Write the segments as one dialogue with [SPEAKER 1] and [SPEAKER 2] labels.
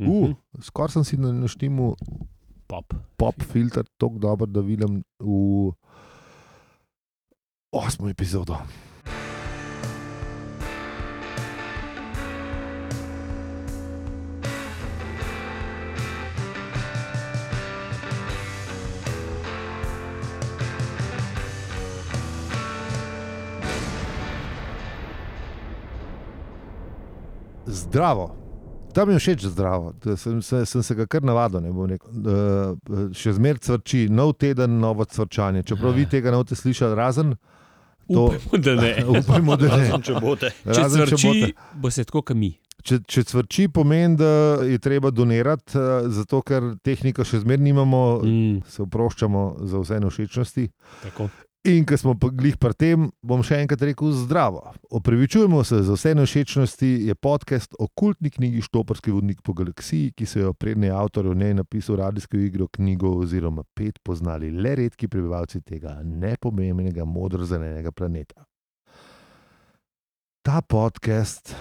[SPEAKER 1] Uh, Skoraj sem si naštel
[SPEAKER 2] Pop.
[SPEAKER 1] pop filter tako dober, da vidim v osmo epizodo. Zdravo. Tam je všeč zdravo, da sem, sem, sem se ga kar navadil. ne bom rekel. Eh, še zmeraj cvrči, nov teden, novo cvrčanje. Čeprav vi tega ne boste slišali, razen To-
[SPEAKER 2] Upamo, da ne.
[SPEAKER 1] upajmo, da ne.
[SPEAKER 3] Razen če bote.
[SPEAKER 2] Če
[SPEAKER 1] Razen, če, boste-
[SPEAKER 2] zvrči, bo se tako, kot mi.
[SPEAKER 1] če, če cvrči, pomeni, da je treba donirati, eh, zato ker tehniko še zmeraj nimamo,
[SPEAKER 2] Mm,
[SPEAKER 1] se oproščamo za vse nevšečnosti.
[SPEAKER 2] tako.
[SPEAKER 1] In ker smo pa glih pri tem, bom še enkrat rekel zdravo. Opravičujemo se za vse nevšečnosti, je podcast o kultni knjigi Štoprski vodnik po galaksiji, ki so jo prednji avtor v njej napisal radijsko igro, knjigo oziroma pet poznali le redki prebivalci tega nepomembnega modro-zelenega planeta. Ta podcast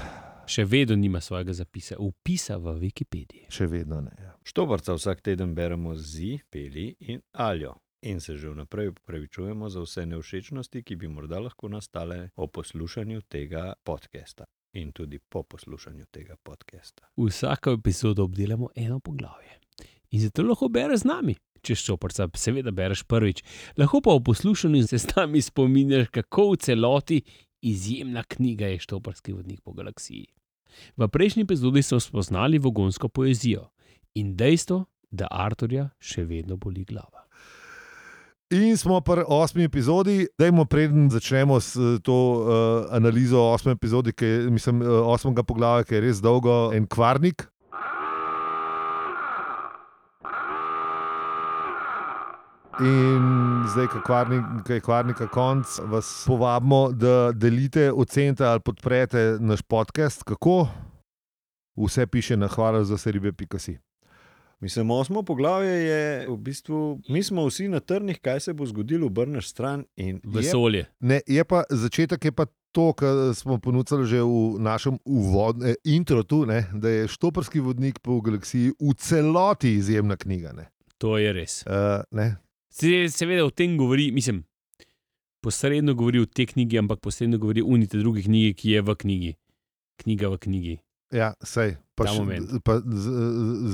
[SPEAKER 2] Še vedno nima svojega zapisa, upisa v Wikipediji.
[SPEAKER 1] še vedno ne.
[SPEAKER 3] Štobarca vsak teden beremo zi, peli in aljo. In se že vnaprej upravičujemo za vse neušečnosti, ki bi morda lahko nastale o poslušanju tega podcasta. In tudi po poslušanju tega podcasta.
[SPEAKER 2] Vsako epizodo obdelamo eno poglavje. In zato lahko bereš z nami. Če šoprca, seveda bereš prvič, lahko pa v poslušanju se z nami spominjaš, kako v celoti izjemna knjiga je Štoprski vodnik po galaksiji. V prejšnji epizodi smo spoznali vogonsko poezijo in dejstvo, da Arturja še vedno boli glava.
[SPEAKER 1] In smo pri osmi epizodi, dajmo preden začnemo s eh, to uh, analizo osme epizode, ki je, mislim, eh, osmega poglavja, ki je res dolgo, en kvarnik. In zdaj, ko kvarnik, ko je kvarnika konc, vas povabimo, da delite, ocenite ali podprete naš podcast. Kako? Vse piše na hvala za seribe.si.
[SPEAKER 3] Mislim, osmo poglavje je v bistvu, mi smo vsi na trnih, kaj se bo zgodilo, obrneš stran in je
[SPEAKER 2] Vesolje.
[SPEAKER 1] Ne, je pa začetek, je pa to, kar smo ponudili že v našem uvodnem eh, intro, tu, ne, da je Štoprski vodnik po galaksiji v celoti izjemna knjiga. Ne.
[SPEAKER 2] To je res.
[SPEAKER 1] Uh, ne.
[SPEAKER 2] Se, seveda o tem govori, mislim, posredno govori o tej knjigi, ampak posredno govori o unite drugi knjigi, ki je v knjigi. Knjiga v knjigi.
[SPEAKER 1] Ja, sej, pa
[SPEAKER 2] Ta
[SPEAKER 1] še,
[SPEAKER 2] moment.
[SPEAKER 1] pa z,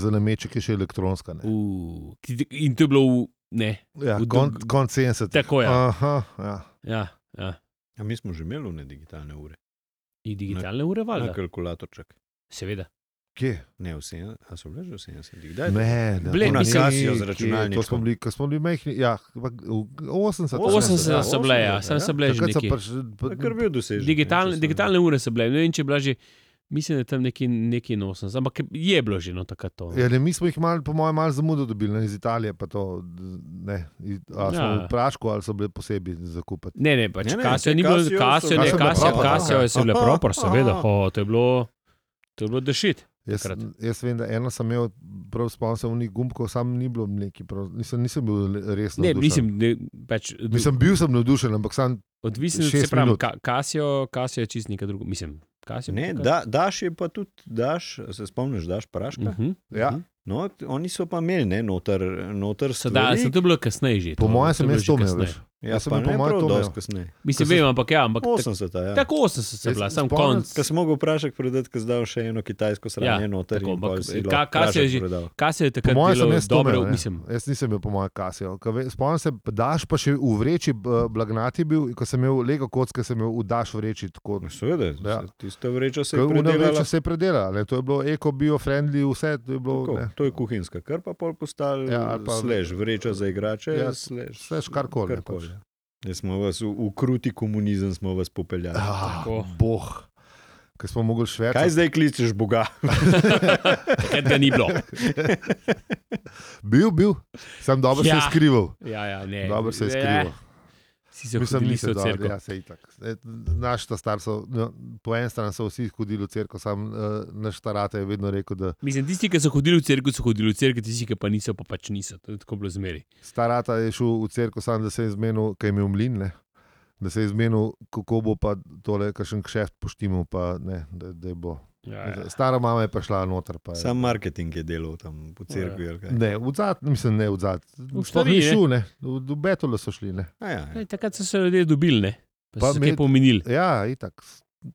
[SPEAKER 1] za nameček je še elektronska.
[SPEAKER 3] Ja.
[SPEAKER 1] Ne.
[SPEAKER 2] U, ki- in to je bilo v. Ne,
[SPEAKER 1] Ja,
[SPEAKER 2] v
[SPEAKER 1] kon,
[SPEAKER 2] dog-
[SPEAKER 1] konc 70.
[SPEAKER 2] tako je. Ja.
[SPEAKER 1] Aha, ja.
[SPEAKER 2] Ja, ja.
[SPEAKER 3] A mi smo že imeli ne digitalne ure,
[SPEAKER 2] In digitalne ure,
[SPEAKER 3] na
[SPEAKER 2] valjda.
[SPEAKER 3] kalkulatorček.
[SPEAKER 2] Seveda.
[SPEAKER 1] Kje?
[SPEAKER 3] Ne, vse, a so bile že v 70-ih, kdaj? je to?
[SPEAKER 1] Ne, ne,
[SPEAKER 2] Ble,
[SPEAKER 1] to
[SPEAKER 2] Na
[SPEAKER 1] ni-
[SPEAKER 3] Casio z
[SPEAKER 1] kje,
[SPEAKER 3] računalnikom.
[SPEAKER 1] To smo bili, ko smo bili majhni. Ja, ampak v 80.
[SPEAKER 2] 80 so bile, ja,
[SPEAKER 3] 80,
[SPEAKER 2] sem
[SPEAKER 3] ja.
[SPEAKER 2] se bile že
[SPEAKER 1] Takrat so
[SPEAKER 2] nekje.
[SPEAKER 1] pač,
[SPEAKER 3] To je kar bil dosežek. ne, če
[SPEAKER 2] Digitalne,
[SPEAKER 3] se-
[SPEAKER 2] digitalne ure so bile, ne vem, če je bila že, mislim, da je tam nekje, nekje na 80, ampak je bilo že no takrat to.
[SPEAKER 1] Ja, ne, mi smo jih, mal, po mojem, malo zamudo dobili ne, iz Italije. pa To, ne, I- a smo
[SPEAKER 2] Ja.
[SPEAKER 1] v Prašku ali so bili posebej zakupiti.
[SPEAKER 2] Ne, ne, pač
[SPEAKER 3] Ne, ne,
[SPEAKER 2] Kasijo
[SPEAKER 3] te
[SPEAKER 2] ni bilo,
[SPEAKER 3] Casio so-
[SPEAKER 2] Kasijo ne,
[SPEAKER 1] Casio je bila
[SPEAKER 2] Kasijo,
[SPEAKER 1] proper,
[SPEAKER 2] Kasijo
[SPEAKER 1] ja.
[SPEAKER 2] so bile
[SPEAKER 3] Aha,
[SPEAKER 2] propor, seveda,
[SPEAKER 3] aha.
[SPEAKER 2] o, to je bilo, to je bilo dešit.
[SPEAKER 1] Jaz,
[SPEAKER 2] Takrat.
[SPEAKER 1] jaz vem, da eno sem imel, prav spomnim se, v njih gumbkov, sam ni bilo neki, prav, nisem, nisem bil le- res
[SPEAKER 2] Ne,
[SPEAKER 1] navdušen.
[SPEAKER 2] mislim, ne, pač,
[SPEAKER 1] Mislim, bil sem navdušen, ampak sam
[SPEAKER 2] Odvisno
[SPEAKER 1] Šest
[SPEAKER 2] je, se pravi,
[SPEAKER 1] minut.
[SPEAKER 2] ka, kasijo, kasijo je čist nekaj drugega. Mislim, kasijo.
[SPEAKER 3] Ne, da, daš je pa tudi, daš, se spomniš, daš praška.
[SPEAKER 2] Uh -huh.
[SPEAKER 1] ja,
[SPEAKER 3] No, t- oni so pa imeli, ne, noter, noter
[SPEAKER 2] Sedaj sem
[SPEAKER 3] stvari.
[SPEAKER 2] to bilo kasneje že.
[SPEAKER 1] po mojem sem
[SPEAKER 2] bilo
[SPEAKER 1] jaz
[SPEAKER 2] že
[SPEAKER 1] to imel.
[SPEAKER 2] kasneje.
[SPEAKER 1] veš.
[SPEAKER 3] Ja,
[SPEAKER 1] jaz sem
[SPEAKER 3] pa
[SPEAKER 1] bil po
[SPEAKER 3] ne,
[SPEAKER 1] mojem
[SPEAKER 3] prav
[SPEAKER 1] to imel.
[SPEAKER 3] dosti kasneje.
[SPEAKER 2] Mislim,
[SPEAKER 1] Ko sem-
[SPEAKER 2] vem, ampak ja, ampak tak,
[SPEAKER 3] 80-ta, ja.
[SPEAKER 2] tako 80 se
[SPEAKER 1] Jaz
[SPEAKER 2] bila,
[SPEAKER 1] se
[SPEAKER 2] sam
[SPEAKER 1] spomnim,
[SPEAKER 2] konc.
[SPEAKER 3] Ko sem mogel vprašek prodati, ko zdaj še eno kitajsko sranje
[SPEAKER 2] Ja,
[SPEAKER 3] noter.
[SPEAKER 2] tako,
[SPEAKER 3] in pol
[SPEAKER 2] ampak
[SPEAKER 3] si
[SPEAKER 2] ka-
[SPEAKER 3] lahko
[SPEAKER 2] kaj se je
[SPEAKER 3] prašek
[SPEAKER 2] že-
[SPEAKER 3] prodal.
[SPEAKER 2] Kasijo je
[SPEAKER 1] Po
[SPEAKER 2] takrat
[SPEAKER 1] mojem sem
[SPEAKER 2] bilo
[SPEAKER 1] jaz to
[SPEAKER 2] dobro,
[SPEAKER 1] imel. ja. ne.
[SPEAKER 2] mislim.
[SPEAKER 1] Jaz nisem bil po mojem kasijo. Ko ve- Spomnim se, daš pa še v vreči, eh, blagnati bil, in ko sem imel lego kocke, sem imel v daš vreči. Tako,
[SPEAKER 3] No, Seveda,
[SPEAKER 1] Ja.
[SPEAKER 3] ja. tisto vrečo se je
[SPEAKER 1] Unovreče
[SPEAKER 3] predelala.
[SPEAKER 1] se je predela, ne? to je bilo eko-bio-friendly, vse to je bilo.
[SPEAKER 3] Tako,
[SPEAKER 1] ne.
[SPEAKER 3] to je kuhinjska krpa, pol postal
[SPEAKER 1] Ja,
[SPEAKER 3] ja,
[SPEAKER 1] ali pa-
[SPEAKER 3] pa, slež, vreča za igrače,
[SPEAKER 1] Ja,
[SPEAKER 3] ja, slež,
[SPEAKER 1] slež karkoli, ne, pač.
[SPEAKER 3] Ja, smo vas v, v kruti komunizem smo vas popeljali.
[SPEAKER 1] Ah,
[SPEAKER 2] Tako.
[SPEAKER 1] boh, ki smo mogli
[SPEAKER 3] Kaj
[SPEAKER 1] švečati.
[SPEAKER 3] zdaj kličeš Boga?
[SPEAKER 2] Takrat ga ni bilo.
[SPEAKER 1] Bil, bil, sem dobro ja. se
[SPEAKER 2] Ja.
[SPEAKER 1] je skrival.
[SPEAKER 2] Ja, ja, ne.
[SPEAKER 1] Dobro se je
[SPEAKER 2] Eh,
[SPEAKER 1] skrival.
[SPEAKER 2] Si se
[SPEAKER 1] Mislim,
[SPEAKER 2] hodili v
[SPEAKER 1] nisem dobro,
[SPEAKER 2] cerkev.
[SPEAKER 1] ja, saj itak. E, Naš ta star, so, no, po eni strani so vsi hodili v cerkev, sam uh, naš tarate je vedno rekel, da
[SPEAKER 2] Mislim, tisti, ki so hodili v cerkev, so hodili v cerkev, tisti, ki pa niso, pa pač niso. To je tako bilo zmeri.
[SPEAKER 1] starata je šel v cerkev, sam da se je zmenil, kaj je imel mlin, ne? da se je zmenil, kako bo pa tole, kakšen kšeft poštimo, pa ne, da, da je bo.
[SPEAKER 2] Ja, ja.
[SPEAKER 1] Stara mama je pa šla noter. Pa je.
[SPEAKER 3] Sam marketing je delal tam v cerkvi. ali kaj?
[SPEAKER 1] Ne, v zad, mislim, ne v zad. Sploh ni
[SPEAKER 2] V stariji, ne?
[SPEAKER 1] šel, ne. V, v Betolo so šli. Ne.
[SPEAKER 3] A Ja, ja.
[SPEAKER 2] Ej, Takrat so se ljudje dobili, ne?
[SPEAKER 1] Pa
[SPEAKER 2] pa, pa so se kaj
[SPEAKER 1] med-
[SPEAKER 2] pomenili.
[SPEAKER 1] Ja, itak.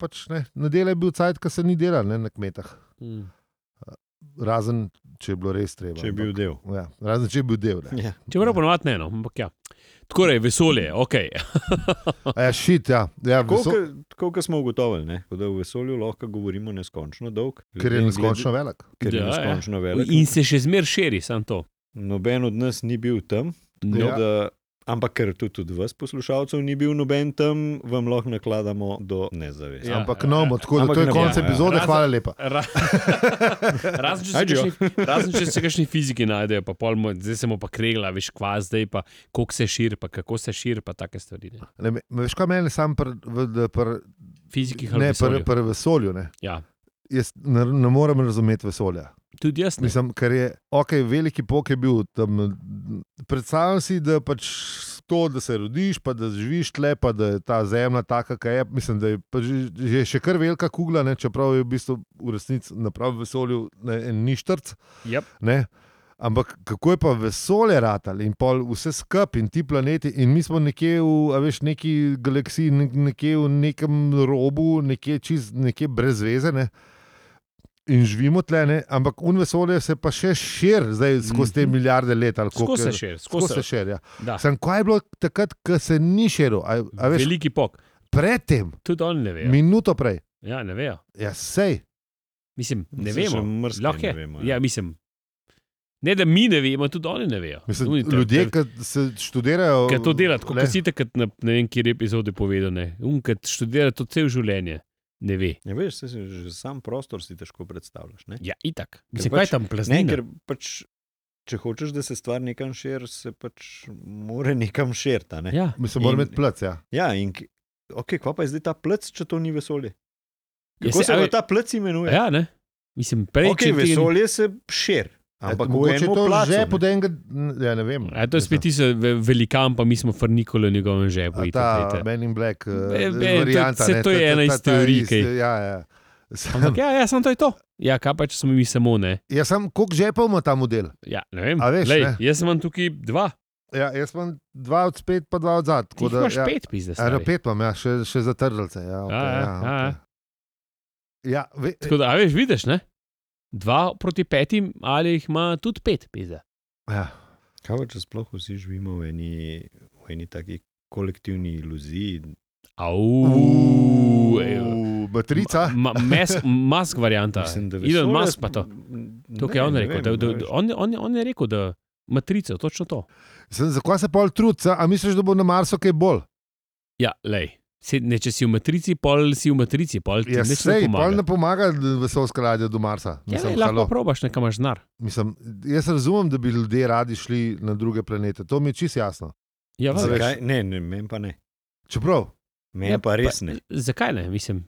[SPEAKER 1] Pač ne. Nedela je bil cajt, ki se ni delal ne, na kmetah.
[SPEAKER 2] Mm.
[SPEAKER 1] Razen, če je bilo res treba.
[SPEAKER 3] Če je bil del.
[SPEAKER 1] ampak- Ja, razen, če je bil del. Ne.
[SPEAKER 3] Ja.
[SPEAKER 2] Čeprav ponovadi ne, no, ampak ja. Tako je, vesolje, ok.
[SPEAKER 1] A Ja, šit, ja. ja
[SPEAKER 3] Tako,
[SPEAKER 1] viso,
[SPEAKER 3] ke- Tako kot smo ugotovili, ne, tako da v vesolju lahko govorimo neskončno dolg.
[SPEAKER 1] ker je
[SPEAKER 3] Ljudem
[SPEAKER 1] neskončno velik.
[SPEAKER 3] glede- Ker je
[SPEAKER 2] Ja, ja.
[SPEAKER 3] neskončno velik.
[SPEAKER 2] In se še zmeraj širi, samo to.
[SPEAKER 3] Noben od nas ni bil tam,
[SPEAKER 2] No,
[SPEAKER 1] Ja.
[SPEAKER 3] ja. da, ampak ker tudi, tudi vas, poslušalcev, ni bil noben tam, vam lahko nakladamo do nezavesti.
[SPEAKER 2] Ja.
[SPEAKER 3] Ja.
[SPEAKER 1] Ampak no, mo, tako da
[SPEAKER 3] Ampak
[SPEAKER 1] to je
[SPEAKER 3] ne
[SPEAKER 1] konec
[SPEAKER 3] bomo, ja.
[SPEAKER 1] epizode,
[SPEAKER 2] Razen-
[SPEAKER 1] hvala lepa.
[SPEAKER 2] Ra razen, če se
[SPEAKER 3] Ajde, jo.
[SPEAKER 2] kakšni- razen, če se kakšni fiziki najdejo, pa pol, mu- zdaj se mu pa kregla, veš, kva zdaj, pa koliko se širi, pa kako se širi, pa take stvari. Ne.
[SPEAKER 1] Ne, me- me- veš, kaj meni sam pri v- pri-
[SPEAKER 2] Fiziki,
[SPEAKER 1] ne,
[SPEAKER 2] ali
[SPEAKER 1] pri- pri vesolju. Ne.
[SPEAKER 2] Ja.
[SPEAKER 1] Jaz ne, ne morem razumeti vesolja.
[SPEAKER 2] Tudi jaz ne.
[SPEAKER 1] Mislim, ker je, ok, veliki pok je bil tam. Predstavljam si, da pač to, da se rodiš, pa da živiš tle, pa da je ta zemlja taka, kaj je. Mislim, da je pa že, že še kar velika kugla, ne, čeprav je v bistvu v resnici naprav vesolju ne, en ništrc.
[SPEAKER 2] Yep.
[SPEAKER 1] Ne. Ampak kako je pa vesolje ratal in pol vse skupaj in ti planeti, in mi smo nekje v a veš, neki galaksiji, ne- nekje v nekem robu, nekje, čist, nekje brez veze. Ne? In živimo tle, ne? ampak un vesolje se pa še širi, zdaj skozi te
[SPEAKER 2] Mhm.
[SPEAKER 1] milijarde let. ali koliko
[SPEAKER 2] Skozi se
[SPEAKER 1] je-
[SPEAKER 2] širi,
[SPEAKER 1] skozi se
[SPEAKER 2] skozi se
[SPEAKER 1] širi. Ja.
[SPEAKER 2] širi.
[SPEAKER 1] Sam, kaj je bilo takrat, ko se ni širil? A, a veš,
[SPEAKER 2] Veliki pok,
[SPEAKER 1] predtem,
[SPEAKER 2] tudi oni ne
[SPEAKER 1] ja.
[SPEAKER 2] vejo.
[SPEAKER 1] minuto prej,
[SPEAKER 2] Ja, ne vejo.
[SPEAKER 1] ja, sej.
[SPEAKER 2] Mislim, ne
[SPEAKER 3] Saj še
[SPEAKER 2] vemo.
[SPEAKER 3] mrzke
[SPEAKER 2] Lahko
[SPEAKER 3] ne
[SPEAKER 2] je.
[SPEAKER 3] vemo, ja.
[SPEAKER 2] Ja, mislim. Ne, da mi ne vemo, tudi oni ne vejo.
[SPEAKER 1] Mislim,
[SPEAKER 2] Oni tam-
[SPEAKER 1] ljudje, ki se študirajo,
[SPEAKER 2] Ker to dela, tako
[SPEAKER 1] le-
[SPEAKER 2] kot si takrat na ne vem, kjer epizode povedal, ne. Um, ker študira to cel življenje, ne ve.
[SPEAKER 3] Ja, veš, saj si, že sam prostor si težko predstavljaš. Ne?
[SPEAKER 2] Ja, itak. Mislim,
[SPEAKER 3] pač-
[SPEAKER 2] kaj je tam
[SPEAKER 3] Ne,
[SPEAKER 2] plaznina?
[SPEAKER 3] ker pač, če hočeš, da se stvar nekam širi, se pač mora nekam širiti. a Ne?
[SPEAKER 2] Ja,
[SPEAKER 1] Mislim, moram
[SPEAKER 3] In-
[SPEAKER 1] imeti plac. Ja.
[SPEAKER 3] Ja, in k- ok, kva pa je zdaj ta plec, če to ni vesolje?
[SPEAKER 2] Ja,
[SPEAKER 3] Kako
[SPEAKER 2] saj,
[SPEAKER 3] se
[SPEAKER 2] a
[SPEAKER 3] pa
[SPEAKER 2] ve-
[SPEAKER 3] ta plec imenuje?
[SPEAKER 2] ja, ne. Mislim, prej
[SPEAKER 3] ok,
[SPEAKER 2] če tega ni-
[SPEAKER 3] vesolje se širi.
[SPEAKER 2] e,
[SPEAKER 3] Ampak v
[SPEAKER 1] mogoče je
[SPEAKER 3] enem
[SPEAKER 1] to
[SPEAKER 3] placu,
[SPEAKER 1] že
[SPEAKER 3] ne.
[SPEAKER 1] pod enega, ja, ne vem.
[SPEAKER 2] A to je spet tisto ve- velikan, pa mi smo frnikoli v njegovem žepu.
[SPEAKER 1] A
[SPEAKER 2] itak,
[SPEAKER 1] ta
[SPEAKER 2] glejte.
[SPEAKER 1] Men in Black, eh,
[SPEAKER 2] Be- be-
[SPEAKER 1] varianta.
[SPEAKER 2] to- saj
[SPEAKER 1] ne,
[SPEAKER 2] to je
[SPEAKER 1] ta-
[SPEAKER 2] ena
[SPEAKER 1] ta-
[SPEAKER 2] iz
[SPEAKER 1] ta-
[SPEAKER 2] teorij,
[SPEAKER 1] iz-
[SPEAKER 2] kaj.
[SPEAKER 1] Ja, ja. Sam,
[SPEAKER 2] Ampak ja, ja, samo to je to. Ja, kaj pa če smo mi samo ne.
[SPEAKER 1] jaz sem, koliko žepov ima ta model?
[SPEAKER 2] Ja, ne vem.
[SPEAKER 1] A veš,
[SPEAKER 2] Lej,
[SPEAKER 1] ne.
[SPEAKER 2] jaz imam tukaj dva,
[SPEAKER 1] Ja, jaz imam dva od spet, pa dva od zad.
[SPEAKER 2] ti
[SPEAKER 1] tako
[SPEAKER 2] da,
[SPEAKER 1] da,
[SPEAKER 2] imaš
[SPEAKER 1] ja.
[SPEAKER 2] ja. pet, pizda.
[SPEAKER 1] Eno pet imam, ja, še, še za trdalce. Ja, okay,
[SPEAKER 2] ja,
[SPEAKER 1] ja,
[SPEAKER 2] a, ja.
[SPEAKER 1] okay. ja ve,
[SPEAKER 2] Tako da, a veš, vidiš, ne? Dva proti petim, ali jih ima tudi pet, pizda.
[SPEAKER 1] ja.
[SPEAKER 3] Kaj pa, če sploh vsi živimo v eni, v eni taki kolektivni iluziji?
[SPEAKER 2] Au, evo.
[SPEAKER 1] U, Matrica.
[SPEAKER 2] Ma, mes- mask varianta. Elon
[SPEAKER 3] vesolje-
[SPEAKER 2] Musk pa to.
[SPEAKER 3] Ne,
[SPEAKER 2] To, kar je on
[SPEAKER 3] ne
[SPEAKER 2] rekel.
[SPEAKER 3] vem,
[SPEAKER 2] Da, da,
[SPEAKER 3] a
[SPEAKER 2] da,
[SPEAKER 3] veš.
[SPEAKER 2] on, on, on je rekel, da matrico, točno to.
[SPEAKER 1] Sem, zakaj se pol trud? A misliš, da bo na Marsu kaj bolj?
[SPEAKER 2] Ja, lej. Se, ne, če si v matrici, pol si v matrici, pol ti
[SPEAKER 1] Ja,
[SPEAKER 2] nič ne
[SPEAKER 1] sej, pol
[SPEAKER 2] pomaga.
[SPEAKER 1] ne pomaga vesolska ladja do Marsa.
[SPEAKER 2] Ja,
[SPEAKER 1] Mislim,
[SPEAKER 2] lej, lahko
[SPEAKER 1] halo.
[SPEAKER 2] probaš, nekam imaš znar.
[SPEAKER 1] Mislim, jaz razumem, da bi ljudje radi šli na druge planete, to mi je čisto jasno.
[SPEAKER 2] Ja, valjda.
[SPEAKER 1] veš.
[SPEAKER 3] Zakaj? Ne, ne, meni pa ne.
[SPEAKER 1] Čeprav,
[SPEAKER 3] Meni
[SPEAKER 2] Ja,
[SPEAKER 3] ja, pa res ne.
[SPEAKER 2] Zakaj ne? Mislim,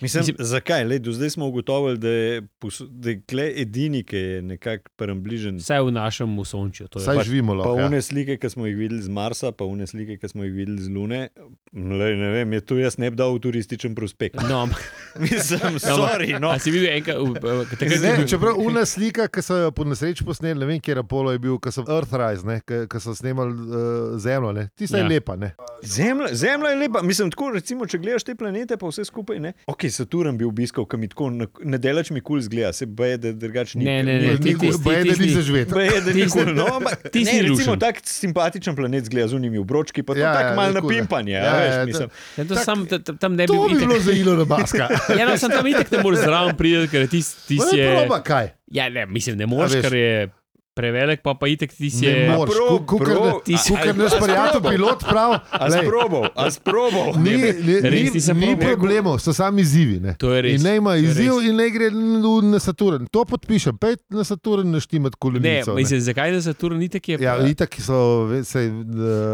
[SPEAKER 3] Mislim,
[SPEAKER 2] Mislim-
[SPEAKER 3] Mislim, zakaj? Le, do zdaj smo ugotovili, da je, pos- da je kle edini, ki je nekako prebližen.
[SPEAKER 2] vsaj v našem osončju. to je
[SPEAKER 1] saj
[SPEAKER 2] pač-
[SPEAKER 1] živimo
[SPEAKER 3] Pa
[SPEAKER 1] lahko. Ja.
[SPEAKER 3] une slike, ki smo jih videli z Marsa, pa une slike, ki smo jih videli z Lune. Le, ne vem, je to jaz ne bi dal v turističen prospekt.
[SPEAKER 2] No, ampak
[SPEAKER 3] Mislim, sorry, no.
[SPEAKER 2] a si videl enkrat, v- v- takrat je
[SPEAKER 1] Ne,
[SPEAKER 2] bil-
[SPEAKER 1] čeprav una slika, ki so jo po nesreči posneli, ne vem, kje Apollo je bil, ki so Earthrise, ki so snemali uh, zemljo, ne. tista
[SPEAKER 2] Ja.
[SPEAKER 1] je lepa. Ne.
[SPEAKER 3] Zemlja, zemlja je lepa. Mislim, tako, recimo, če gledaš te planete, pa vse skupaj. Ne? Ok, Saturn bi obiskal, kam tako na- ne delač mi kul zgleda, se boje, da drugačni.
[SPEAKER 2] Ne, ne, ne, ti- ti- ti-
[SPEAKER 1] Baj, da
[SPEAKER 2] ti-
[SPEAKER 1] ni zaživeti.
[SPEAKER 3] Baje, da ni
[SPEAKER 2] Ti si-
[SPEAKER 3] kul. No, ampak
[SPEAKER 2] ti si
[SPEAKER 3] ne, recimo
[SPEAKER 2] lušen.
[SPEAKER 3] tak simpatičen planet zgleda z unimi obročki, pa to
[SPEAKER 1] Ja,
[SPEAKER 3] ja,
[SPEAKER 1] ja,
[SPEAKER 3] tako malo
[SPEAKER 1] je kul.
[SPEAKER 3] napimpanje.
[SPEAKER 1] Ja,
[SPEAKER 3] Ja,
[SPEAKER 1] ja,
[SPEAKER 3] veš,
[SPEAKER 1] to-
[SPEAKER 3] mislim.
[SPEAKER 2] Ja, to
[SPEAKER 1] Tak-
[SPEAKER 2] sam- ta- ta- Tam ne bi
[SPEAKER 1] To bi
[SPEAKER 2] itak-
[SPEAKER 1] bilo za Ilona Maska.
[SPEAKER 2] Ja, no, sem tam itek ne moreš zraven priti, ker ti si.
[SPEAKER 1] Pa Ne, proba, kaj.
[SPEAKER 2] Ja, ne, mislim, ne
[SPEAKER 1] A
[SPEAKER 2] moreš,
[SPEAKER 1] veš.
[SPEAKER 2] ker je prevelik, pa pa itek ti si.
[SPEAKER 1] Ne moreš,
[SPEAKER 3] pro-
[SPEAKER 1] Ku- kukar
[SPEAKER 3] pro-
[SPEAKER 1] ne-
[SPEAKER 2] Ti si-
[SPEAKER 1] kukar naš
[SPEAKER 3] a si
[SPEAKER 1] prijatelj,
[SPEAKER 3] probal?
[SPEAKER 1] pilot prav.
[SPEAKER 3] A
[SPEAKER 1] lej,
[SPEAKER 3] sprobal, a sprobal.
[SPEAKER 1] Ni,
[SPEAKER 3] Ne,
[SPEAKER 1] ni,
[SPEAKER 2] res
[SPEAKER 1] ni,
[SPEAKER 2] nisem
[SPEAKER 1] ni
[SPEAKER 2] probal.
[SPEAKER 1] problemov, so sami izzivi. Ne.
[SPEAKER 2] To je res.
[SPEAKER 1] In naj ima
[SPEAKER 2] to je
[SPEAKER 1] izziv,
[SPEAKER 2] res.
[SPEAKER 1] in naj gre n- na Saturn. To podpišem, pet na Saturn naštimati
[SPEAKER 2] Ne,
[SPEAKER 1] kolonijo.
[SPEAKER 2] mislim, zakaj ne Saturn ni tako je.
[SPEAKER 1] Ja, eh,
[SPEAKER 2] pa-
[SPEAKER 1] itak so, ve- sej,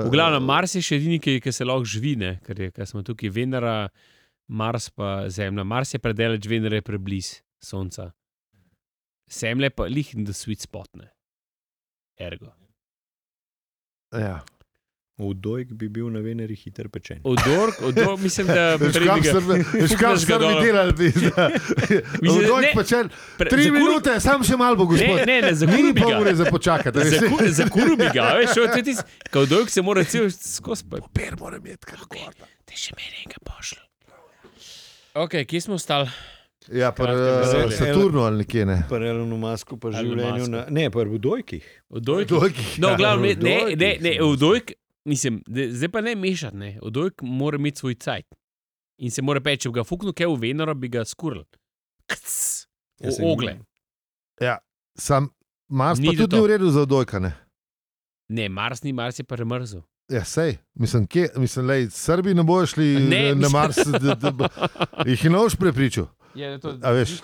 [SPEAKER 2] V glavnem, Mars je še edini, ki, ki se lahko živi, ne? ker je, ker smo tukaj Venera, Mars pa Zemlja. Mars je predeleč, Venera je prebliz Sonca. Zemlja pa lih in the sweet spot, ne. Ergo.
[SPEAKER 1] Ja.
[SPEAKER 3] Vdojk bi bil na veneri hiter pečen.
[SPEAKER 2] Odork, odork, mislim, da
[SPEAKER 1] Veš, kam
[SPEAKER 2] prediga-
[SPEAKER 1] srbi, veš, kam
[SPEAKER 2] Fukneš
[SPEAKER 1] srbi
[SPEAKER 2] ga dol.
[SPEAKER 1] delali, pizda.
[SPEAKER 2] Mislim, da
[SPEAKER 1] Odoj
[SPEAKER 2] ne.
[SPEAKER 1] počel.
[SPEAKER 2] Pre-
[SPEAKER 1] Tri
[SPEAKER 2] zakuril-
[SPEAKER 1] minute, sam še malo bo,
[SPEAKER 2] Ne,
[SPEAKER 1] gospod.
[SPEAKER 2] ne, ne,
[SPEAKER 1] Ni
[SPEAKER 2] zakuril bi
[SPEAKER 1] pol ure
[SPEAKER 2] ga.
[SPEAKER 1] za počakati. a veš.
[SPEAKER 2] Zaku- Zakuril bi ga, a veš, to je tisto, kot dolg se mora cel skozi. pa-
[SPEAKER 1] Papir moram jeti, kar gorda.
[SPEAKER 2] Te še meni enega pošlji. Ok, kje smo ostali?
[SPEAKER 1] Ja, pa
[SPEAKER 2] Kratke
[SPEAKER 3] besede.
[SPEAKER 1] Saturno ali nekje ne.
[SPEAKER 3] Paralelno masko, pa
[SPEAKER 2] Elon
[SPEAKER 3] življenju
[SPEAKER 2] Musku.
[SPEAKER 3] na. Ne, pa v Dojkih.
[SPEAKER 2] Odojk.
[SPEAKER 1] Dolgi.
[SPEAKER 2] No, glavno, ne,
[SPEAKER 3] v
[SPEAKER 2] ne,
[SPEAKER 3] Dojkih
[SPEAKER 2] ne, ne
[SPEAKER 3] smo.
[SPEAKER 2] odojk, mislim, de- zdaj pa ne mešati, ne. Odojk mora imeti svoj cajt. In se mora peči, če bi ga fuknil, kaj v Venero bi ga skuril. Kc,
[SPEAKER 3] Jaz sem-
[SPEAKER 2] o, ogle.
[SPEAKER 1] Sam Mars pa
[SPEAKER 2] Ni do
[SPEAKER 1] tudi
[SPEAKER 2] to.
[SPEAKER 1] ni v redu za odojkane.
[SPEAKER 2] Ne, Mars ni, Mars je pa remrzel.
[SPEAKER 1] Ja, sej, mislim, kje, mislim, lej, Srbi ne bojo šli
[SPEAKER 2] Ne,
[SPEAKER 1] ne, na
[SPEAKER 2] mislim-
[SPEAKER 1] Mars, da, da, da jih je nož prepričal.
[SPEAKER 2] Je, to
[SPEAKER 1] A veš,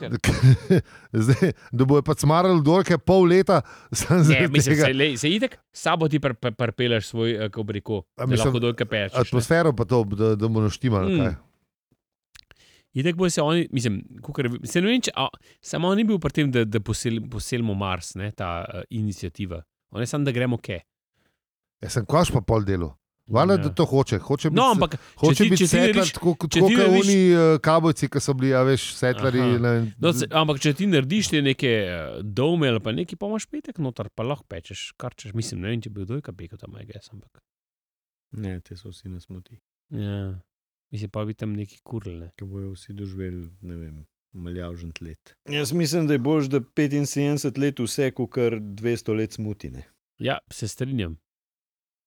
[SPEAKER 1] zdaj, da bojo pa smarali dolge pol leta, sem
[SPEAKER 2] Ne,
[SPEAKER 1] zdaj
[SPEAKER 2] mislim,
[SPEAKER 1] tega.
[SPEAKER 2] se, lej, se itek, sabo ti prpeleš svoj, eh, kako bi rekel, da
[SPEAKER 1] mislim,
[SPEAKER 2] lahko dolka pečeš. ne.
[SPEAKER 1] Atmosfero pa to, da, da bo naštimalo.
[SPEAKER 2] Mm.
[SPEAKER 1] Mm.
[SPEAKER 2] Itek bo se oni, mislim, kukar, se ne vem, če, a, samo on ni bil pri tem, da, da posel, poselimo Mars, ne, ta uh, inicijativa. On je samo, da gremo kje.
[SPEAKER 1] Jaz Ja, sem koš pa pol delo. Valjda,
[SPEAKER 2] Ja.
[SPEAKER 1] ja. da to hoče. Hoče biti,
[SPEAKER 2] No, ampak
[SPEAKER 1] hoče
[SPEAKER 2] ti-
[SPEAKER 1] biti
[SPEAKER 2] če ti
[SPEAKER 1] setlar,
[SPEAKER 2] narediš-
[SPEAKER 1] tako kot
[SPEAKER 2] če ti
[SPEAKER 1] oni
[SPEAKER 2] narediš-
[SPEAKER 1] uh, kabojci, ki so bili, a veš, setlari.
[SPEAKER 2] Aha.
[SPEAKER 1] ne vem,
[SPEAKER 2] No, se, ampak, če ti narediš te neke eh, dome ali pa nekaj, pa imaš petek noter, pa lahko pečeš, kar češ. Mislim, ne vem, če bi kdo kaj pekel tam, gess, ampak.
[SPEAKER 3] Ne, te so vsi na smoti.
[SPEAKER 2] Ja. Mislim, pa bi tam neki kurlne.
[SPEAKER 3] Ki bojo vsi doživeli, ne vem. Maljavžen let. Jaz mislim, da je bož, da 75 let vse, kar 200 let smutine.
[SPEAKER 2] Ja, se strinjam.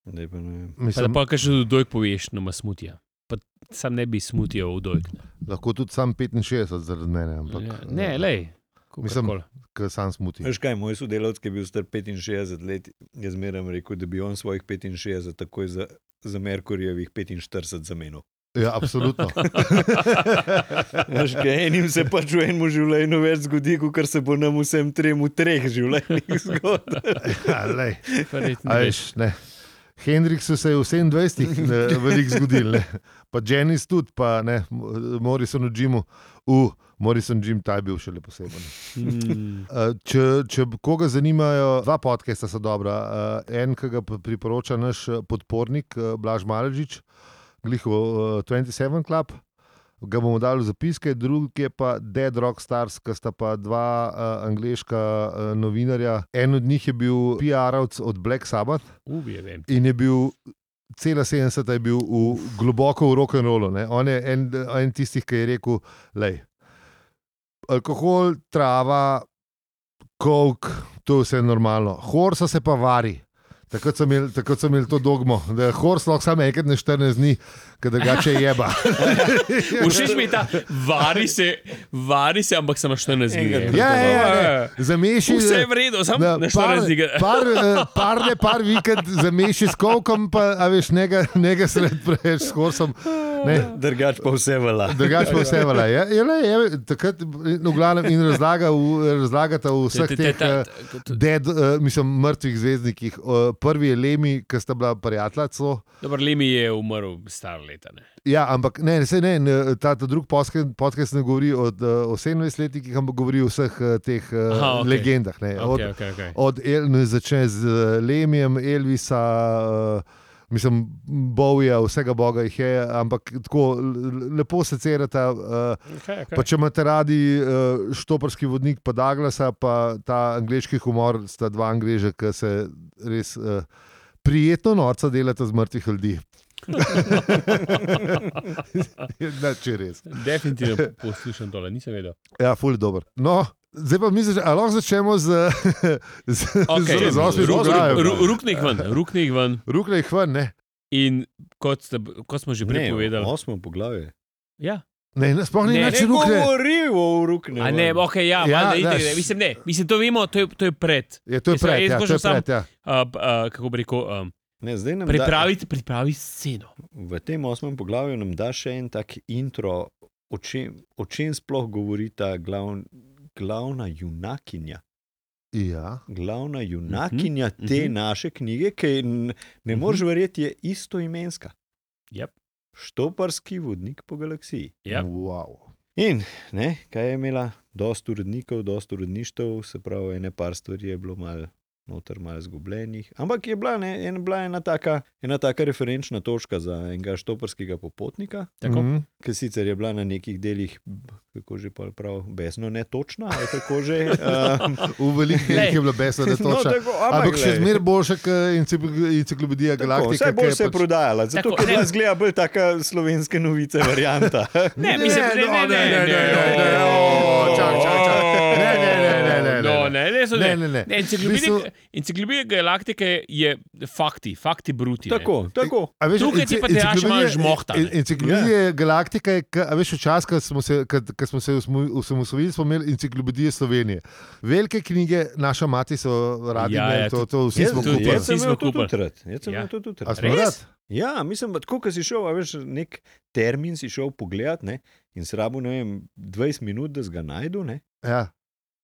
[SPEAKER 3] Zdaj pa ne vem.
[SPEAKER 2] Pa da
[SPEAKER 1] Mislim, pa...
[SPEAKER 2] pa kaj še dojk poveš, no ima smutija. Pa sam ne bi smutijo v dojk.
[SPEAKER 1] Lahko tudi sam 65 zaradi mene, ampak
[SPEAKER 2] Ja. Ne, lej.
[SPEAKER 1] Mislim,
[SPEAKER 2] kakorkoli.
[SPEAKER 1] ker sam smuti.
[SPEAKER 3] Veš kaj, moj sodelavec, ki je bil star 65 let, je zmeraj rekel, da bi on svojih 65 takoj za, za Merkurjevih 45 zamenil.
[SPEAKER 1] Ja, absolutno.
[SPEAKER 3] Veš kaj, enim se pač v enem življenju več zgodi, kot se bo nam vsem trem v treh življenjih zgodilo.
[SPEAKER 1] ja, lej.
[SPEAKER 2] Verjetno
[SPEAKER 1] A
[SPEAKER 2] ne.
[SPEAKER 1] veš, ne. Hendriksu se je v 27-ih ne, veliko zgodil, ne. pa Janis tudi, pa ne, Mo- Morrison v Jimu, uh, Morrison Jim, ta je bil še le poseben.
[SPEAKER 2] Mm.
[SPEAKER 1] Eh, Če, če koga zanimajo, dva podcasta so dobra. Eh, En, ki ga p- priporoča naš eh, podpornik eh, Blaž Maležič, Gliho 27 Club. Ga bomo dali v zapiske, drugi je pa Dead Rock Stars, ki sta pa dva uh, angliška uh, novinarja. En od njih je bil PR-ovc od Black Sabbath
[SPEAKER 2] Ubije, vem.
[SPEAKER 1] in je bil. Cela 70 je bil v, globoko v rock'n'rollu. ne. On je en, en tistih, ki je rekel, da je alkohol, trava, kok, to je vse normalno. Horsa se pa vari. Takrat so imeli, takrat so imeli to dogmo, da je hors lahko samo enkrat na 14 dni, ker drugače jeba.
[SPEAKER 2] Všeč mi je ta, vari se, vari se, ampak samo 14 dni.
[SPEAKER 1] Ja, ja, ja, ne. Zameši.
[SPEAKER 2] Vse je v redu, samo
[SPEAKER 1] Da,
[SPEAKER 2] na
[SPEAKER 1] par,
[SPEAKER 2] 14 dni.
[SPEAKER 1] par, eh, par, ne, par vikend zameši s kokom, pa a veš, ne ga- ne ga sred preveč s horsom. Ne.
[SPEAKER 3] Drugač pa vse vela.
[SPEAKER 1] Drugač pa vse vele. Je, je, le, je, takrat, no, v glavnem, in razlaga v, razlagata v vseh
[SPEAKER 2] Te- te-
[SPEAKER 1] teh
[SPEAKER 2] ta-
[SPEAKER 1] eh,
[SPEAKER 2] ta-
[SPEAKER 1] dead, eh, mislim, mrtvih zvezdnikih. Eh, Prvi je Lemi, ki sta bila prijatelja. celo.
[SPEAKER 2] Dobro, Lemi je umrl star leta. Ne?
[SPEAKER 1] Ja, ampak ne, saj ne, ne ta, ta drugi podcast, podcast ne govori od, eh, o 17-letnikih, ampak govori o vseh eh, teh
[SPEAKER 2] Aha,
[SPEAKER 1] Aha,
[SPEAKER 2] okej.
[SPEAKER 1] legendah. Ne, od,
[SPEAKER 2] Okay, okay, okay.
[SPEAKER 1] Od El, ne, začne z eh, Lemijem, Elvisa, eh, mislim, Bowija, vsega boga jih je, ampak tako l- lepo se cerata. eh,
[SPEAKER 2] Okay,
[SPEAKER 1] Pa če imate radi eh, štoparski vodnik, pa Douglasa, pa ta angliški humor, sta dva angliža, ki se res eh, prijetno norca delata z mrtvih ljudi. da, če res.
[SPEAKER 2] Definitivno poslušam tole, nisem vedel.
[SPEAKER 1] Ja, ful je dober. No, zdaj pa mi zač- a lahko začnemo z, z,
[SPEAKER 2] Okay.
[SPEAKER 1] z, z osmim glavom.
[SPEAKER 2] Ruknih ven, ruknih ven.
[SPEAKER 1] Rukle jih ven, ne.
[SPEAKER 2] In kot, sta, kot smo že prej povedali.
[SPEAKER 3] Osmo poglavje.
[SPEAKER 2] Ja.
[SPEAKER 1] Ne, ne, sploh ni
[SPEAKER 2] Ne,
[SPEAKER 1] več rukle.
[SPEAKER 3] govori o rukne.
[SPEAKER 2] A ne, okay, ja,
[SPEAKER 1] Ja,
[SPEAKER 2] ja,
[SPEAKER 1] daš.
[SPEAKER 2] ne, mislim, ne, mislim, to vemo, to je, to je pred.
[SPEAKER 1] Je, to je
[SPEAKER 2] Jaz sem-
[SPEAKER 1] pred,
[SPEAKER 2] jaz
[SPEAKER 1] ja, to
[SPEAKER 2] bo
[SPEAKER 1] je
[SPEAKER 2] že sam-
[SPEAKER 1] pred, ja.
[SPEAKER 2] Uh, uh, kako bi rekel, um,
[SPEAKER 3] ne, zdaj nam
[SPEAKER 2] pripraviti, pripraviti sceno.
[SPEAKER 3] Da, v tem osmem poglavju nam da še en tak intro, o čem, o čem sploh govori ta glavn, glavna junakinja.
[SPEAKER 1] ja.
[SPEAKER 3] Glavna junakinja uh -huh, te uh
[SPEAKER 2] mhm.
[SPEAKER 3] -huh. naše knjige, ki je, n- ne
[SPEAKER 2] Mhm.
[SPEAKER 3] moreš verjeti, je istoimenska.
[SPEAKER 2] Yep.
[SPEAKER 3] Štoparski vodnik po galaksiji.
[SPEAKER 2] Ja.
[SPEAKER 1] Wow.
[SPEAKER 3] In ne, kaj je imela, dosta urednikov, dosta uredništev, se pravi, ene par stvari je bilo malo noter malo zgubljenih. Ampak je bila, ne, en, bila ena, taka, ena taka referenčna točka za enega štoprskega popotnika,
[SPEAKER 2] Tako.
[SPEAKER 1] Mhm.
[SPEAKER 3] ki sicer je bila na nekih delih, b- kako že pol prav, besno netočna, ali kako že. Um,
[SPEAKER 1] V velikih delih je bila besna, da je
[SPEAKER 3] no,
[SPEAKER 1] točno.
[SPEAKER 3] tako,
[SPEAKER 1] Ampak še
[SPEAKER 3] glej.
[SPEAKER 1] zmeraj boljše, kot encikl- enciklopedija
[SPEAKER 3] Tako,
[SPEAKER 1] Galaktika.
[SPEAKER 3] Vse bolj
[SPEAKER 1] ki je
[SPEAKER 3] se je
[SPEAKER 1] pač-
[SPEAKER 3] prodajala,
[SPEAKER 2] Tako,
[SPEAKER 3] zato ker je
[SPEAKER 2] ne.
[SPEAKER 3] bila zgleda bolj taka slovenske novice varianta.
[SPEAKER 2] Ne, mislim,
[SPEAKER 1] Ne,
[SPEAKER 2] ne,
[SPEAKER 1] no,
[SPEAKER 2] ne,
[SPEAKER 1] ne,
[SPEAKER 2] ne,
[SPEAKER 1] ne, ne, ne,
[SPEAKER 2] ne,
[SPEAKER 1] ne, o, čak, čak, čak. Ne, ne, ne, ne, ne, ne,
[SPEAKER 2] No,
[SPEAKER 1] ne.
[SPEAKER 2] ne, ne, so
[SPEAKER 1] Ne,
[SPEAKER 2] ne.
[SPEAKER 1] ne, ne.
[SPEAKER 2] Ne,
[SPEAKER 1] Mislim-
[SPEAKER 2] enciklopedija- Enciklopedija galaktike je fakti, fakti bruti. ne.
[SPEAKER 3] tako, tako.
[SPEAKER 1] A veš,
[SPEAKER 2] Tukaj ti
[SPEAKER 1] enci-
[SPEAKER 2] pa te raš malo
[SPEAKER 1] enciklopedije-
[SPEAKER 2] žmohta, ne. Ja.
[SPEAKER 1] en- Enciklopedija yeah. Galaktika je, ka, a veš, včasih, ko smo se, kad, kad smo se osmo- osamosvojili, smo imeli enciklopedije Slovenije. Velike knjige, naša mati so radi,
[SPEAKER 2] Ja,
[SPEAKER 1] ja,
[SPEAKER 2] ja,
[SPEAKER 1] ja, to, to vsi
[SPEAKER 3] Jaz-
[SPEAKER 1] smo
[SPEAKER 2] tudi
[SPEAKER 1] kupili.
[SPEAKER 3] Jaz sem
[SPEAKER 2] Vsi
[SPEAKER 3] imel
[SPEAKER 2] smo
[SPEAKER 3] to tudi
[SPEAKER 2] kupili.
[SPEAKER 3] rad. Jaz sem
[SPEAKER 2] Ja.
[SPEAKER 3] imel to tudi
[SPEAKER 1] A
[SPEAKER 3] rad.
[SPEAKER 1] smo
[SPEAKER 2] Res?
[SPEAKER 1] rad?
[SPEAKER 3] Ja, mislim, da tako, ko si šel, a veš, nek termin si šel pogledat ne, in srabu ne vem, 20 minut, da ga najdu. Ne.
[SPEAKER 1] Ja.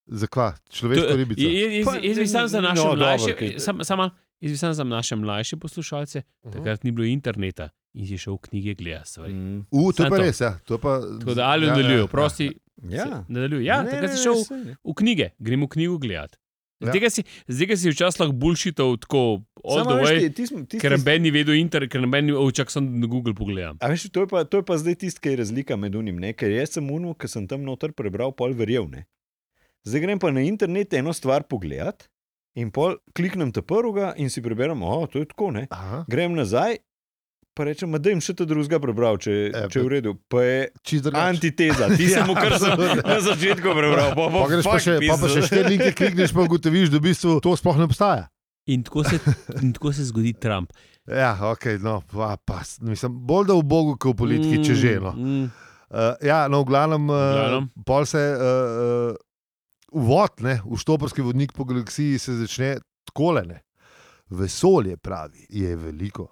[SPEAKER 1] Zakva,
[SPEAKER 2] To-
[SPEAKER 1] človeško ribico.
[SPEAKER 2] jaz- jaz-
[SPEAKER 3] Pa,
[SPEAKER 2] Jaz bi sam za
[SPEAKER 3] no,
[SPEAKER 2] naše
[SPEAKER 3] dobro,
[SPEAKER 2] mlajše,
[SPEAKER 3] kaj-
[SPEAKER 2] sam- sama, jaz bi sam za naše mlajše poslušalce, takrat ni bilo interneta in si šel v knjige gledati stvari.
[SPEAKER 3] Mm.
[SPEAKER 1] U, to je pa
[SPEAKER 2] Santo.
[SPEAKER 1] res, ja. To je pa,
[SPEAKER 2] Tako da ali nadaljujejo, prosti,
[SPEAKER 3] Ja,
[SPEAKER 2] nadaljujejo. Ja,
[SPEAKER 3] Ne,
[SPEAKER 2] takrat si
[SPEAKER 3] ne, ne,
[SPEAKER 2] šel
[SPEAKER 3] saj, ne.
[SPEAKER 2] v knjige, grem v knjigo gledati.
[SPEAKER 1] Ja.
[SPEAKER 2] Zdaj, ja. si, zdaj ga si včasih lahko bullshitov tako all
[SPEAKER 3] Samo
[SPEAKER 2] the
[SPEAKER 3] veš,
[SPEAKER 2] way,
[SPEAKER 3] ti- ti smo- tisti-
[SPEAKER 2] ker noben ni vedel inter, ker noben ni, oh, čak sem na Google pogledam.
[SPEAKER 3] A veš, to je, pa, to je pa zdaj tisto, ki je razlika med unim. Ne? Ker jaz sem unil, ki sem tam noter prebral, pol verjel. Ne? Zdaj grem pa na internet eno stvar pogledat in pol kliknem ta prvega in si preberem, o, to je tako. Ne?
[SPEAKER 1] Aha.
[SPEAKER 3] Grem nazaj, pa rečem, "Ma, da jim še ta drugega prebral, če,
[SPEAKER 1] E,
[SPEAKER 3] če je v redu. Pa je
[SPEAKER 1] Čist drugače.
[SPEAKER 3] antiteza, ti si
[SPEAKER 1] Ja,
[SPEAKER 3] mu kar sem
[SPEAKER 1] absolutno.
[SPEAKER 3] na začetku prebral. Pa, pa,
[SPEAKER 1] Pa greš pa še, pa pa še štiri linke, klikneš pa ugotoviš, da v bistvu to sploh ne obstaja.
[SPEAKER 2] In tako se, in tako se zgodi Trump.
[SPEAKER 1] Ja, ok, no, pa, pa, s- mislim, bolj da v Bogu, kot v politiki, če že. No.
[SPEAKER 2] Mm,
[SPEAKER 1] Uh, ja, no, v glavnem,
[SPEAKER 2] V
[SPEAKER 1] uh,
[SPEAKER 2] glavnem.
[SPEAKER 1] pol se uh, uh, uvod ne, v štoprski vodnik po galaksiji se začne takole. Ne. Vesolje pravi, je veliko.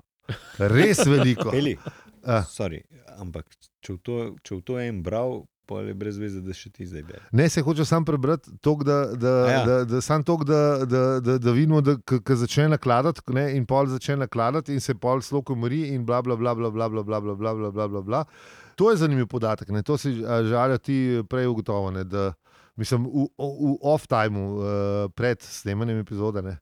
[SPEAKER 1] Res veliko.
[SPEAKER 3] Eli,
[SPEAKER 1] Ah.
[SPEAKER 3] sorry, ampak če v to, če v to en bral, pa je brez veze, da še ti zdaj bereš.
[SPEAKER 1] Ne, se hoče sam prebrati, tok, da, da,
[SPEAKER 3] A
[SPEAKER 1] ja.
[SPEAKER 3] ja.
[SPEAKER 1] da, da, sam tok, da, da, da, da vidimo, da k- k začne nakladati, ne, in pol začne nakladati, in se pol sloko umori, in bla bla bla bla bla bla bla bla bla bla bla bla bla. To je zanimiv podatek, ne, to si a, žalja ti prej ugotovljene, da mislim v, v off-timu, uh, pred snemanjem epizode, ne,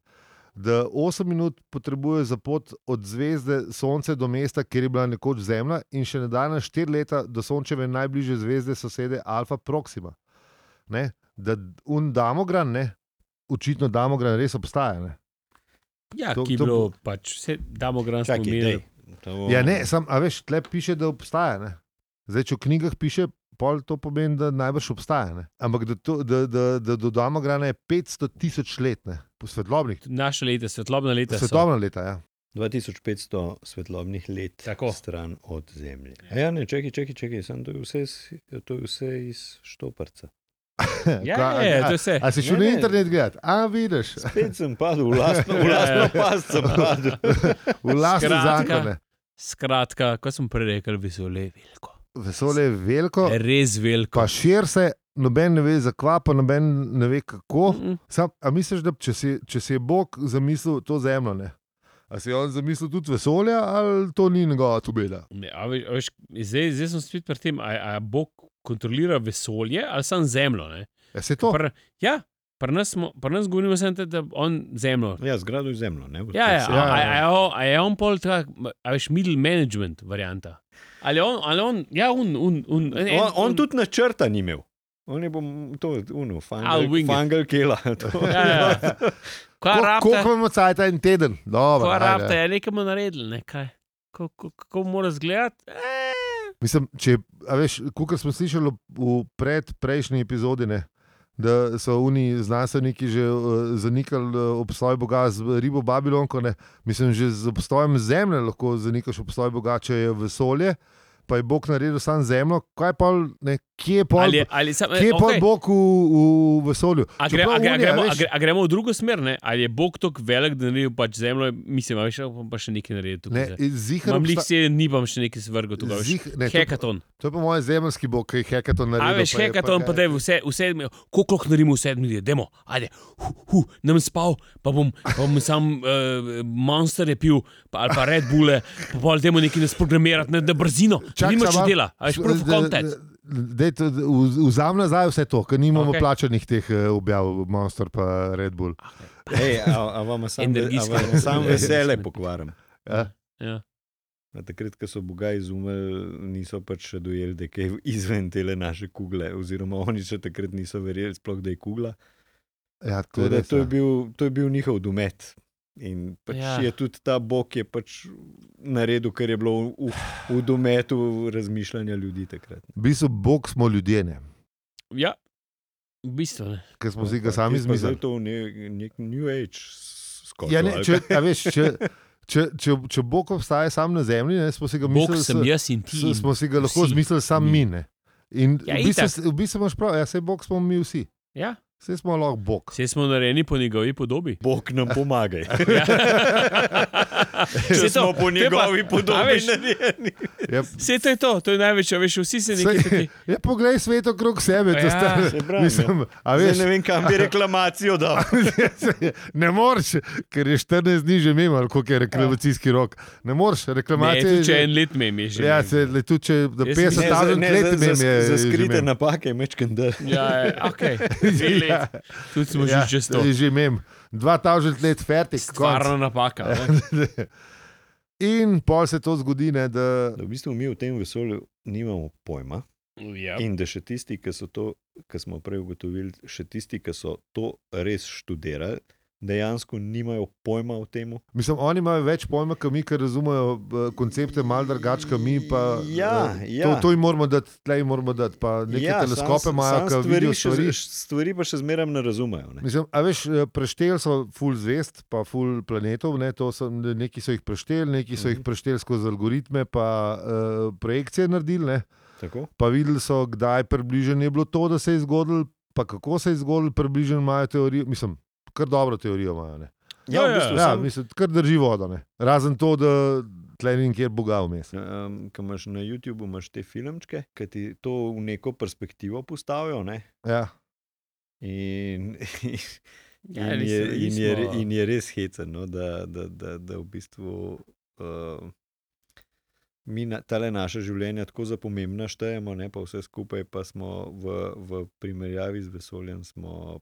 [SPEAKER 1] da 8 minut potrebuje za pot od zvezde Sonce do mesta, kjer je bila nekoč Zemlja, in še nadaljna 4 leta do Sončeve najbližje zvezde sosede Alfa Proxima. Ne? Da un damogran, ne? očitno damogran res obstaja. Ne?
[SPEAKER 2] ja,
[SPEAKER 1] To-
[SPEAKER 2] to, ki je
[SPEAKER 1] to
[SPEAKER 2] bilo pač, vse damo gransko
[SPEAKER 3] Čakaj, dej,
[SPEAKER 2] mejo.
[SPEAKER 3] to-
[SPEAKER 1] Ja,
[SPEAKER 2] Oh.
[SPEAKER 1] ne, sam, a veš, tle piše, da obstaja. Ne? Zdaj, če v knjigah piše, pol to pomeni, da najbrž obstaja. Ne? Ampak da, to, da, da, da do damograna je 500 tisoč let, ne? po svetlobnih,
[SPEAKER 2] Naše leta, svetlobna leta. so.
[SPEAKER 1] svetlobna leta. Ja.
[SPEAKER 3] 2500 svetlobnih let
[SPEAKER 2] Tako.
[SPEAKER 3] stran od Zemlje. A ja, ne, čakaj, čakaj, čakaj, samo to je vse, s- to je vse iz štoparca.
[SPEAKER 2] Ja,
[SPEAKER 1] Ka-
[SPEAKER 2] je,
[SPEAKER 1] a-
[SPEAKER 2] to je Ja, vse.
[SPEAKER 1] A si šel
[SPEAKER 3] Ne,
[SPEAKER 1] na
[SPEAKER 3] ne.
[SPEAKER 1] internet gledati, a vidiš,
[SPEAKER 3] Spet sem padel, v lastno,
[SPEAKER 2] Ja,
[SPEAKER 3] v lastno past sem padel.
[SPEAKER 1] v lastne
[SPEAKER 2] Skratka.
[SPEAKER 1] zakone.
[SPEAKER 2] Skratka, kot sem prej rekel, vesolje je veliko.
[SPEAKER 1] Vesolje je veliko,
[SPEAKER 2] Res veliko.
[SPEAKER 1] pa šir se, noben ne ve zakva, pa noben ne ve kako.
[SPEAKER 2] Mm, mm.
[SPEAKER 1] Sam, a misliš, da če si, če si je Bog zamislil to zemljo, ne? a si je on zamislil tudi vesolje, ali to ni njegova tubeda?
[SPEAKER 2] Ne, Ja, a veš- a veš, Zdaj, zdaj sem spet pri tem, ali Bog kontrolira vesolje ali samo zemljo. ne?
[SPEAKER 1] Ja, se to.
[SPEAKER 2] Pri- ja, pri nas, smo- pri nas govorimo samo, to, da on zemljo.
[SPEAKER 3] Ja, zgradil zemljo, ne?
[SPEAKER 2] Ja, ja,
[SPEAKER 1] Ja,
[SPEAKER 2] a-
[SPEAKER 1] ja.
[SPEAKER 2] a- a je on- a je on pol tak, a veš, middle management varianta. Ali on, ali on, ja, un, un, un, en-
[SPEAKER 3] On, on tudi načrta ni imel. On je bom to, uno,
[SPEAKER 2] I'll wing
[SPEAKER 3] fangel,
[SPEAKER 2] it.
[SPEAKER 3] fangel kela. To.
[SPEAKER 2] Ja, ja. Kaj
[SPEAKER 1] Ko-
[SPEAKER 2] rabta,
[SPEAKER 1] Koliko imamo cajt en teden? Dobro,
[SPEAKER 2] kaj
[SPEAKER 1] ajde.
[SPEAKER 2] rabta je nekemu naredil, ne kaj. Ko- ko- Kako mora zgledati? Eh,
[SPEAKER 1] Mislim, če, a veš, kot smo slišali v predprejšnji epizodi, ne, da so oni znanstveniki že uh, zanikali uh, obstoj Boga z ribo Babilonko. Ne. Mislim, že z obstojem Zemlje lahko zanikaš obstoj Boga, če je vesolje, pa je Bog naredil sam Zemljo. Kaj pa, ne, kje pa
[SPEAKER 2] Ali,
[SPEAKER 1] je
[SPEAKER 2] je- ali sam,
[SPEAKER 1] Kje je okay. Bog v, v vesolju?
[SPEAKER 2] A, gre,
[SPEAKER 1] Čeprav
[SPEAKER 2] a, gre, a,
[SPEAKER 1] oni, a
[SPEAKER 2] gremo, a,
[SPEAKER 1] veš-
[SPEAKER 2] gre, a gremo v drugo smer, ne? ali je Bog tako velik, da naredi pač zemljo, mislim, a veš, ali bom pa še nekaj naredil
[SPEAKER 1] Ne,
[SPEAKER 2] tukaj. zdaj.
[SPEAKER 1] zihar,
[SPEAKER 2] Imam lih
[SPEAKER 1] obsta-
[SPEAKER 2] se, ni bom še nekaj svrgal tukaj. veš.
[SPEAKER 1] Zih- ne, to-
[SPEAKER 2] Hekaton.
[SPEAKER 1] to je po mojem zemljski bog, ki je hekaton
[SPEAKER 2] A
[SPEAKER 1] naredil.
[SPEAKER 2] veš,
[SPEAKER 1] pa je-
[SPEAKER 2] hekaton, pa
[SPEAKER 1] pa
[SPEAKER 2] da je vse, vse koliko lahko naredimo v sedmih dneh, demo, ajde, hu, hu, nam spal, pa bom, pa bom sam uh, monster je pil, pa, ali pa Red Bulle, pa pol temu nekaj nas programirati, ne, da brzino,
[SPEAKER 1] Čakaj,
[SPEAKER 2] nimaš
[SPEAKER 1] samo-
[SPEAKER 2] dela, a veš, proof of
[SPEAKER 1] Da-
[SPEAKER 2] content.
[SPEAKER 1] da- dej to- vz- Vzam nazaj vse to, ker nimamo
[SPEAKER 2] Okej.
[SPEAKER 1] okay. plačanih teh eh, objav, Monster in Red Bull.
[SPEAKER 3] Hej, a, a vam sam, ve- a
[SPEAKER 2] Energijska.
[SPEAKER 3] vam sam vesele pokvarim.
[SPEAKER 1] Ja?
[SPEAKER 2] Ja.
[SPEAKER 3] Na Takrat, ko so Boga izumili, niso pač še dojeli, da je kaj izven tele naše kugle, oziroma oni še takrat niso verjeli, sploh, da je kugla.
[SPEAKER 1] Ja, to
[SPEAKER 3] Tako
[SPEAKER 1] je
[SPEAKER 3] da
[SPEAKER 1] res,
[SPEAKER 3] Torej, to, je
[SPEAKER 1] ja.
[SPEAKER 3] bil, to je bil njihov domet. In pač
[SPEAKER 2] Ja.
[SPEAKER 3] ja. je tudi ta bog, ki je pač naredil, kar je bilo v, v dometu razmišljanja ljudi takrat. no.
[SPEAKER 1] V bistvu, Bog smo ljudje, ne?
[SPEAKER 2] ja, v bistvu ne.
[SPEAKER 1] ker smo si ga sami
[SPEAKER 3] Ti pa zdaj
[SPEAKER 1] izmislili.
[SPEAKER 3] To je ne, nek New Age skok.
[SPEAKER 1] Ja, ne, če, a veš, če, če, če, če Bog obstaja sam na zemlji, ne, smo si ga
[SPEAKER 2] Bog
[SPEAKER 1] mislili,
[SPEAKER 2] sem
[SPEAKER 1] s-
[SPEAKER 2] jaz in ti.
[SPEAKER 1] s- smo si ga lahko
[SPEAKER 2] vsi
[SPEAKER 1] izmislili sam
[SPEAKER 2] mi.
[SPEAKER 1] mi. ne. In
[SPEAKER 2] Ja,
[SPEAKER 1] v bistvu s- v bistvu imaš prav, ja, sej Bog smo mi vsi,
[SPEAKER 2] Ja,
[SPEAKER 1] sej smo lahko Bog.
[SPEAKER 2] vse smo narejeni po njegovi podobi.
[SPEAKER 3] Bog nam pomaga.
[SPEAKER 2] Ja. Saj
[SPEAKER 3] Če
[SPEAKER 2] to,
[SPEAKER 3] smo po
[SPEAKER 2] te pa-
[SPEAKER 3] njegovi
[SPEAKER 2] a
[SPEAKER 3] podobi
[SPEAKER 2] veš,
[SPEAKER 3] narejeni.
[SPEAKER 1] Ja,
[SPEAKER 2] Vse to je to, to je največje, veš, vsi se nekaj
[SPEAKER 1] saj,
[SPEAKER 2] taki.
[SPEAKER 1] ja, poglej svet okrog sebe, to
[SPEAKER 2] Ja,
[SPEAKER 1] stane.
[SPEAKER 3] se pravim, ja.
[SPEAKER 1] Mislim, a
[SPEAKER 3] Zdaj
[SPEAKER 1] veš,
[SPEAKER 3] Ne vem, kam bi reklamacijo dal.
[SPEAKER 1] ne moreš, ker je 14 dni že mimo, ali koliko je reklamacijski rok. Ne moreš,
[SPEAKER 2] Ja. Ne,
[SPEAKER 1] reklamacija
[SPEAKER 2] tudi
[SPEAKER 1] je
[SPEAKER 2] če
[SPEAKER 1] že-
[SPEAKER 2] en let memi že.
[SPEAKER 1] Ja,
[SPEAKER 2] mem.
[SPEAKER 1] se, le, tudi če do 50
[SPEAKER 2] Jaz mislim,
[SPEAKER 1] tisoč let
[SPEAKER 3] za,
[SPEAKER 1] mem je.
[SPEAKER 3] za
[SPEAKER 1] je že
[SPEAKER 3] skrite
[SPEAKER 1] mem.
[SPEAKER 3] napake, mečken da.
[SPEAKER 2] Ja, ja, okay. Dve
[SPEAKER 1] Ja.
[SPEAKER 2] leti. Tudi smo
[SPEAKER 1] Ja,
[SPEAKER 2] že čez to.
[SPEAKER 1] je Že imam 2000 let fertik,
[SPEAKER 2] Stvarna napaka. ne.
[SPEAKER 1] In pol se to zgodi, ne, da
[SPEAKER 3] V bistvu mi v tem vesolju nimamo pojma.
[SPEAKER 2] Ja.
[SPEAKER 3] In da še tisti, ki so to, kar smo prej ugotovili, še tisti, ki so to res študirali, dejansko nimajo pojma o tem.
[SPEAKER 1] mislim, oni imajo več pojma, kot mi, ker razumejo eh, koncepte malo drugače, kot mi. Pa,
[SPEAKER 3] Ja,
[SPEAKER 1] eh,
[SPEAKER 3] ja.
[SPEAKER 1] To, to jim moramo dati, tle jim moramo dati. Pa neke ja, teleskope imajo, ki vidijo stvari.
[SPEAKER 3] Stvari, še- stvari pa še zmeraj ne razumejo. Ne?
[SPEAKER 1] Mislim, a veš, eh, prešteli so full zvest, pa full planetov, ne, to so, neki so jih prešteli, neki so jih
[SPEAKER 3] Mhm.
[SPEAKER 1] prešteli skozi algoritme, pa uh, projekcije naredili, ne,
[SPEAKER 3] Tako?
[SPEAKER 1] pa videli so, kdaj približno je bilo to, da se je zgodilo, pa kako se je zgodilo, približno imajo teorijo, mislim, kar dobro teorijo imajo. Ne.
[SPEAKER 2] Ja, ja.
[SPEAKER 3] bistvu
[SPEAKER 1] Ja,
[SPEAKER 3] samo,
[SPEAKER 1] mislim, kar drži vodo, ne. razen to, da tle ni nikjer Boga vmes.
[SPEAKER 3] Um, ko imaš na YouTubu imaš te filmčke, ki ti to v neko perspektivo postavijo. Ne?
[SPEAKER 1] Ja.
[SPEAKER 3] In, in,
[SPEAKER 2] Ja,
[SPEAKER 3] in,
[SPEAKER 2] res,
[SPEAKER 3] je,
[SPEAKER 2] res
[SPEAKER 3] in, je,
[SPEAKER 2] smo-
[SPEAKER 3] in je res hecen, no, da, da, da, da v bistvu uh, mi na, tale naše življenje tako za pomembna štejemo, ne, pa vse skupaj pa smo v, v primerjavi z vesoljem smo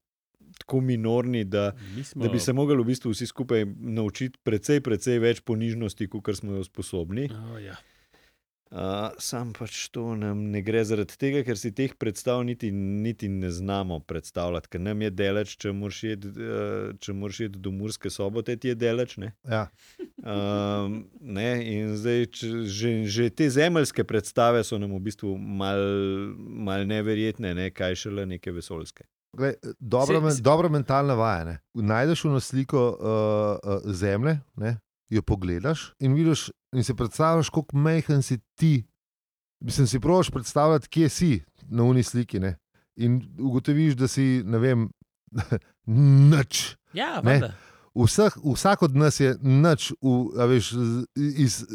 [SPEAKER 3] tako minorni, da,
[SPEAKER 2] Mi smo-
[SPEAKER 3] da bi se mogli v bistvu vsi skupaj naučiti precej, precej več ponižnosti, kot smo jo sposobni.
[SPEAKER 2] O, ja.
[SPEAKER 3] Uh, sam pač to nam ne gre zaradi tega, ker si teh predstav niti, niti ne znamo predstavljati, ker nam je deleč, če moraš iti uh, jet do Murske sobote, ti je deleč. Ne?
[SPEAKER 1] Ja.
[SPEAKER 3] Um, ne? In zdaj če, že, že te zemeljske predstave so nam v bistvu mal, mal neverjetne, ne? kaj šele neke vesoljske.
[SPEAKER 1] Glej, eh, dobra,
[SPEAKER 2] Se-
[SPEAKER 1] men,
[SPEAKER 2] se-
[SPEAKER 1] dobra mentalna vaja. Ne. Najdeš eno sliko uh, uh, zemlje, ne, jo pogledaš in vidiš, in si predstavljaš, kako majhen si ti. Mislim, si proš predstavljati, kje si na uni sliki. Ne. In ugotoviš, da si ne vem, nič. Ne.
[SPEAKER 2] ja, valjda.
[SPEAKER 1] Vseh, vsak od nas je nič, v, a veš, z- iz,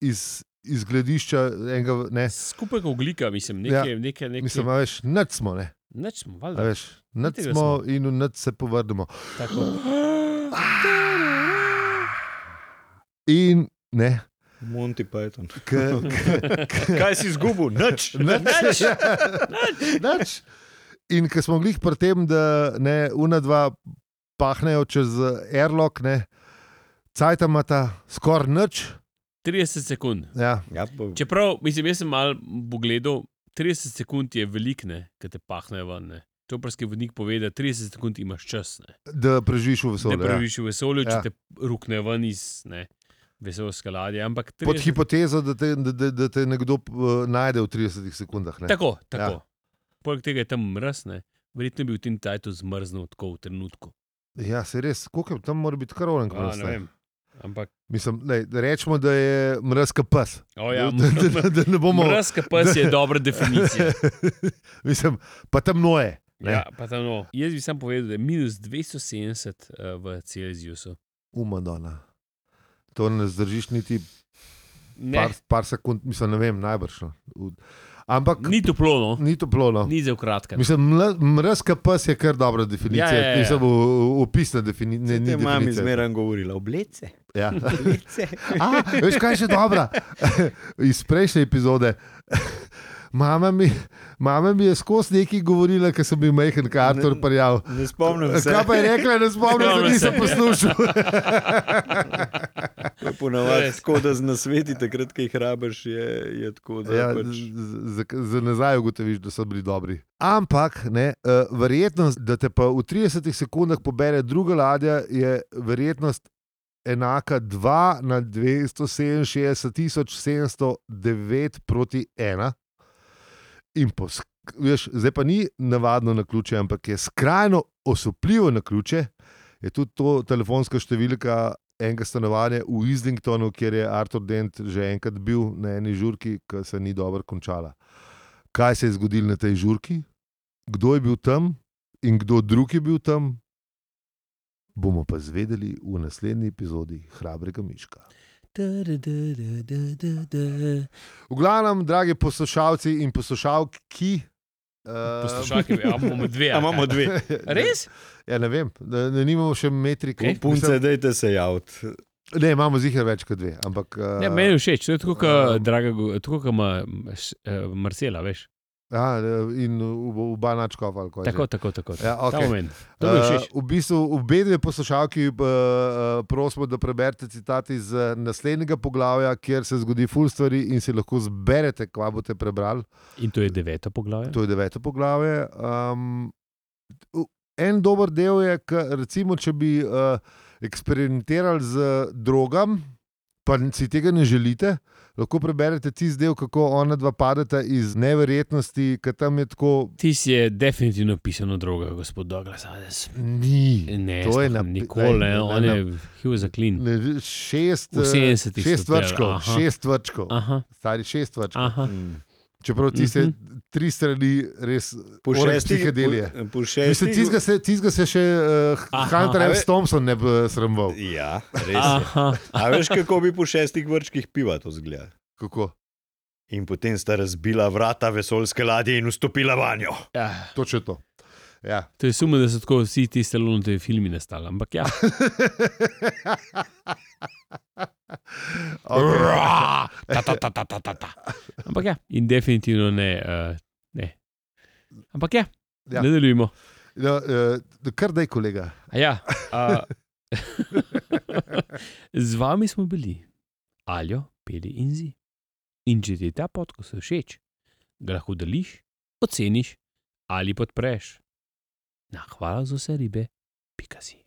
[SPEAKER 1] iz, iz gledišča enega. Ne.
[SPEAKER 2] skupek oglika, mislim, nekaj, ja. nekaj, nekaj.
[SPEAKER 1] Mislim, a veš, nič smo, ne.
[SPEAKER 2] Nič smo,
[SPEAKER 1] A
[SPEAKER 2] valjda.
[SPEAKER 1] veš, nič
[SPEAKER 2] Itak, da
[SPEAKER 1] smo in v nič se povrnemo.
[SPEAKER 2] Tako.
[SPEAKER 1] In ne,
[SPEAKER 3] Monty Python.
[SPEAKER 1] K,
[SPEAKER 3] Kaj si izgubil? Nič.
[SPEAKER 1] Nač, nač. In ko smo glih pri tem, da ne una dva pahnejo čez airlock, ne, cajtamata, skoraj nič.
[SPEAKER 2] 30 sekund.
[SPEAKER 1] Ja,
[SPEAKER 3] Ja, pa,
[SPEAKER 2] Čeprav, mislim, jaz sem mal pogledal, 30 sekund je velikne, ki te pahne ven. Ne. Čoprski vodnik pove, da 30 sekund imaš čas, ne.
[SPEAKER 1] da preživiš v
[SPEAKER 2] da
[SPEAKER 1] vesolju. Ja.
[SPEAKER 2] preživiš v vesolju, če
[SPEAKER 1] Ja.
[SPEAKER 2] ja. te rukne ven iz ne, vesoljske ladje. Ampak 30...
[SPEAKER 1] Pod hipotezo, da te, da, da, da te nekdo eh, najde v 30 sekundah. Ne.
[SPEAKER 2] Tako, tako. Ja. Poleg tega je tam mrzne, verjetno je bil Tim Tajto zmrznil tako v trenutku.
[SPEAKER 1] Ja, se res, koliko je- tam mora biti karolen.
[SPEAKER 2] A, ne vem. Ampak,
[SPEAKER 1] Mislim, lej, rečemo, da je mrzka pes.
[SPEAKER 2] o ja,
[SPEAKER 1] da, da, da, da ne bomo.
[SPEAKER 2] Mrzka pes je dobra definicija.
[SPEAKER 1] Mislim, pa temno je. Ne.
[SPEAKER 2] Ja, pa tam no. Jaz bi sam povedal, da je minus 270 uh, v Celzijusu.
[SPEAKER 1] umadona. To ne zdržiš niti
[SPEAKER 2] Ne,
[SPEAKER 1] par, par sekund, mislim, ne vem, najbrž. no. V- Ampak ni,
[SPEAKER 2] ni toplo, no.
[SPEAKER 1] ni toplo. No.
[SPEAKER 2] ni za kratka.
[SPEAKER 1] Mislim, mrzka pes je kar dobra definicija,
[SPEAKER 2] Ja, ja, ja.
[SPEAKER 1] nisem opisna defini ne, ni
[SPEAKER 3] te mami
[SPEAKER 1] definicija.
[SPEAKER 3] zmeraj govorila, oblece.
[SPEAKER 1] Ja.
[SPEAKER 3] oblece.
[SPEAKER 1] A, veš kaj je še dobra? Iz prejšnje epizode. Mama mi, mama mi je skozi nekaj govorila, ker sem bil majhen kartor
[SPEAKER 3] Ne-
[SPEAKER 1] prijavil.
[SPEAKER 3] Ne spomnim se,
[SPEAKER 1] Kaj pa je rekla, ne spomnim se,
[SPEAKER 2] Dobro
[SPEAKER 1] nisem
[SPEAKER 2] se.
[SPEAKER 1] poslušal.
[SPEAKER 3] je ponovadi
[SPEAKER 2] Res.
[SPEAKER 3] tako, da z nasveti, takrat, ko jih rabiš, je, je tako, da
[SPEAKER 1] Ja,
[SPEAKER 3] ja, pač
[SPEAKER 1] z- za, za nazaj ugotoviš, da so bili dobri. Ampak ne, uh, verjetnost, da te pa v 30 sekundah pobere druga ladja, je verjetnost enaka 2 na 267.709 proti 1. In po, sk- veš, zdaj pa ni navadno na ključe, ampak je skrajno osupljivo na ključe. Je tudi to telefonska številka enega stanovanja v Islingtonu, kjer je Artur Dent že enkrat bil na eni žurki, ki se ni dobro končala. Kaj se je zgodilo na tej žurki, kdo je bil tam in kdo drug je bil tam, bomo pa izvedeli v naslednji epizodi Hrabrega Miška. V glavnem, dragi poslušalci in poslušalki. eh,
[SPEAKER 2] Poslušaj, ja, imamo dve.
[SPEAKER 3] A imamo dve.
[SPEAKER 2] Res?
[SPEAKER 1] Ja, ne vem, da, da nimamo še metrike.
[SPEAKER 2] Ej,
[SPEAKER 3] Punce, dajte se javiti.
[SPEAKER 1] Ne, imamo zihar več kot dve. Ampak,
[SPEAKER 2] Ne,
[SPEAKER 1] eh,
[SPEAKER 2] meni je všeč, to je tako, kot
[SPEAKER 1] um,
[SPEAKER 2] draga, go- tako kot ima s- eh, Marcela, veš.
[SPEAKER 1] Aha, in v Banačkov ali kaj.
[SPEAKER 2] Tako, tako, tako.
[SPEAKER 1] Ja,
[SPEAKER 2] Ta
[SPEAKER 1] okej.
[SPEAKER 2] moment. To mi
[SPEAKER 1] Uh,
[SPEAKER 2] je všeč.
[SPEAKER 1] v bistvu obe dve poslušalki uh, prosimo, da preberete citat iz eh, naslednjega poglavja, kjer se zgodi ful stvari in si lahko zberete, kva boste prebrali.
[SPEAKER 2] In to je deveta poglavje.
[SPEAKER 1] To je deveto poglavje. Um, u- en dober del je, ke recimo, če bi uh, eksperimentirali z drogam, pa n- si tega ne želite, lahko preberete tisti del, kako ona dva padeta iz neverjetnosti, ker tam je tako.
[SPEAKER 2] Ti si je definitivno pisano druga, gospod Douglas. Adams.
[SPEAKER 1] Ni.
[SPEAKER 2] Ne,
[SPEAKER 1] To je
[SPEAKER 2] sploh
[SPEAKER 1] napi-
[SPEAKER 2] nikoli,
[SPEAKER 1] ne, ne,
[SPEAKER 2] ne, on
[SPEAKER 1] ne.
[SPEAKER 2] je hiv za klin.
[SPEAKER 1] Ne, šest, eh,
[SPEAKER 2] V 70-ih so
[SPEAKER 1] šest
[SPEAKER 2] pela,
[SPEAKER 1] vrčkov,
[SPEAKER 2] aha.
[SPEAKER 1] šest vrčkov,
[SPEAKER 2] Aha,
[SPEAKER 1] stari šest vrčkov.
[SPEAKER 2] aha.
[SPEAKER 3] Mm.
[SPEAKER 1] Čeprav ti se
[SPEAKER 2] Mhm.
[SPEAKER 1] tri strani res
[SPEAKER 3] Po
[SPEAKER 1] Oreh
[SPEAKER 3] šestih
[SPEAKER 1] psihedelije.
[SPEAKER 3] po- Po
[SPEAKER 1] Mislim,
[SPEAKER 3] šestih.
[SPEAKER 1] tizga se, tizga se še uh,
[SPEAKER 2] Aha,
[SPEAKER 1] Hunter
[SPEAKER 3] E, a
[SPEAKER 1] M.
[SPEAKER 3] ve-
[SPEAKER 1] Thompson ne bi sramoval.
[SPEAKER 3] Ja, res. je.
[SPEAKER 2] Aha,
[SPEAKER 3] A veš, kako bi po šestih vrčkih piva to zgleda?
[SPEAKER 1] Kako?
[SPEAKER 3] In potem sta razbila vrata vesoljske ladje in vstopila vanjo.
[SPEAKER 2] ja.
[SPEAKER 1] Točno to. Ja.
[SPEAKER 2] To je sumo, da so tako vsi ti salonite filmi nastali, ampak ja.
[SPEAKER 1] okay.
[SPEAKER 2] Ta, ta, ta, ta, ta, ta, ta. Ampak ja, in definitivno ne. Uh, ne. Ampak ja,
[SPEAKER 1] Ja.
[SPEAKER 2] ja. ne delujemo.
[SPEAKER 1] no, uh, kar daj, kolega.
[SPEAKER 2] A Ja, uh, z vami smo bili, alijo, peli in zi. In če ti je ta podcast všeč, ga lahko deliš, oceniš ali podpreš. Na hvala za vse ribe, pika si.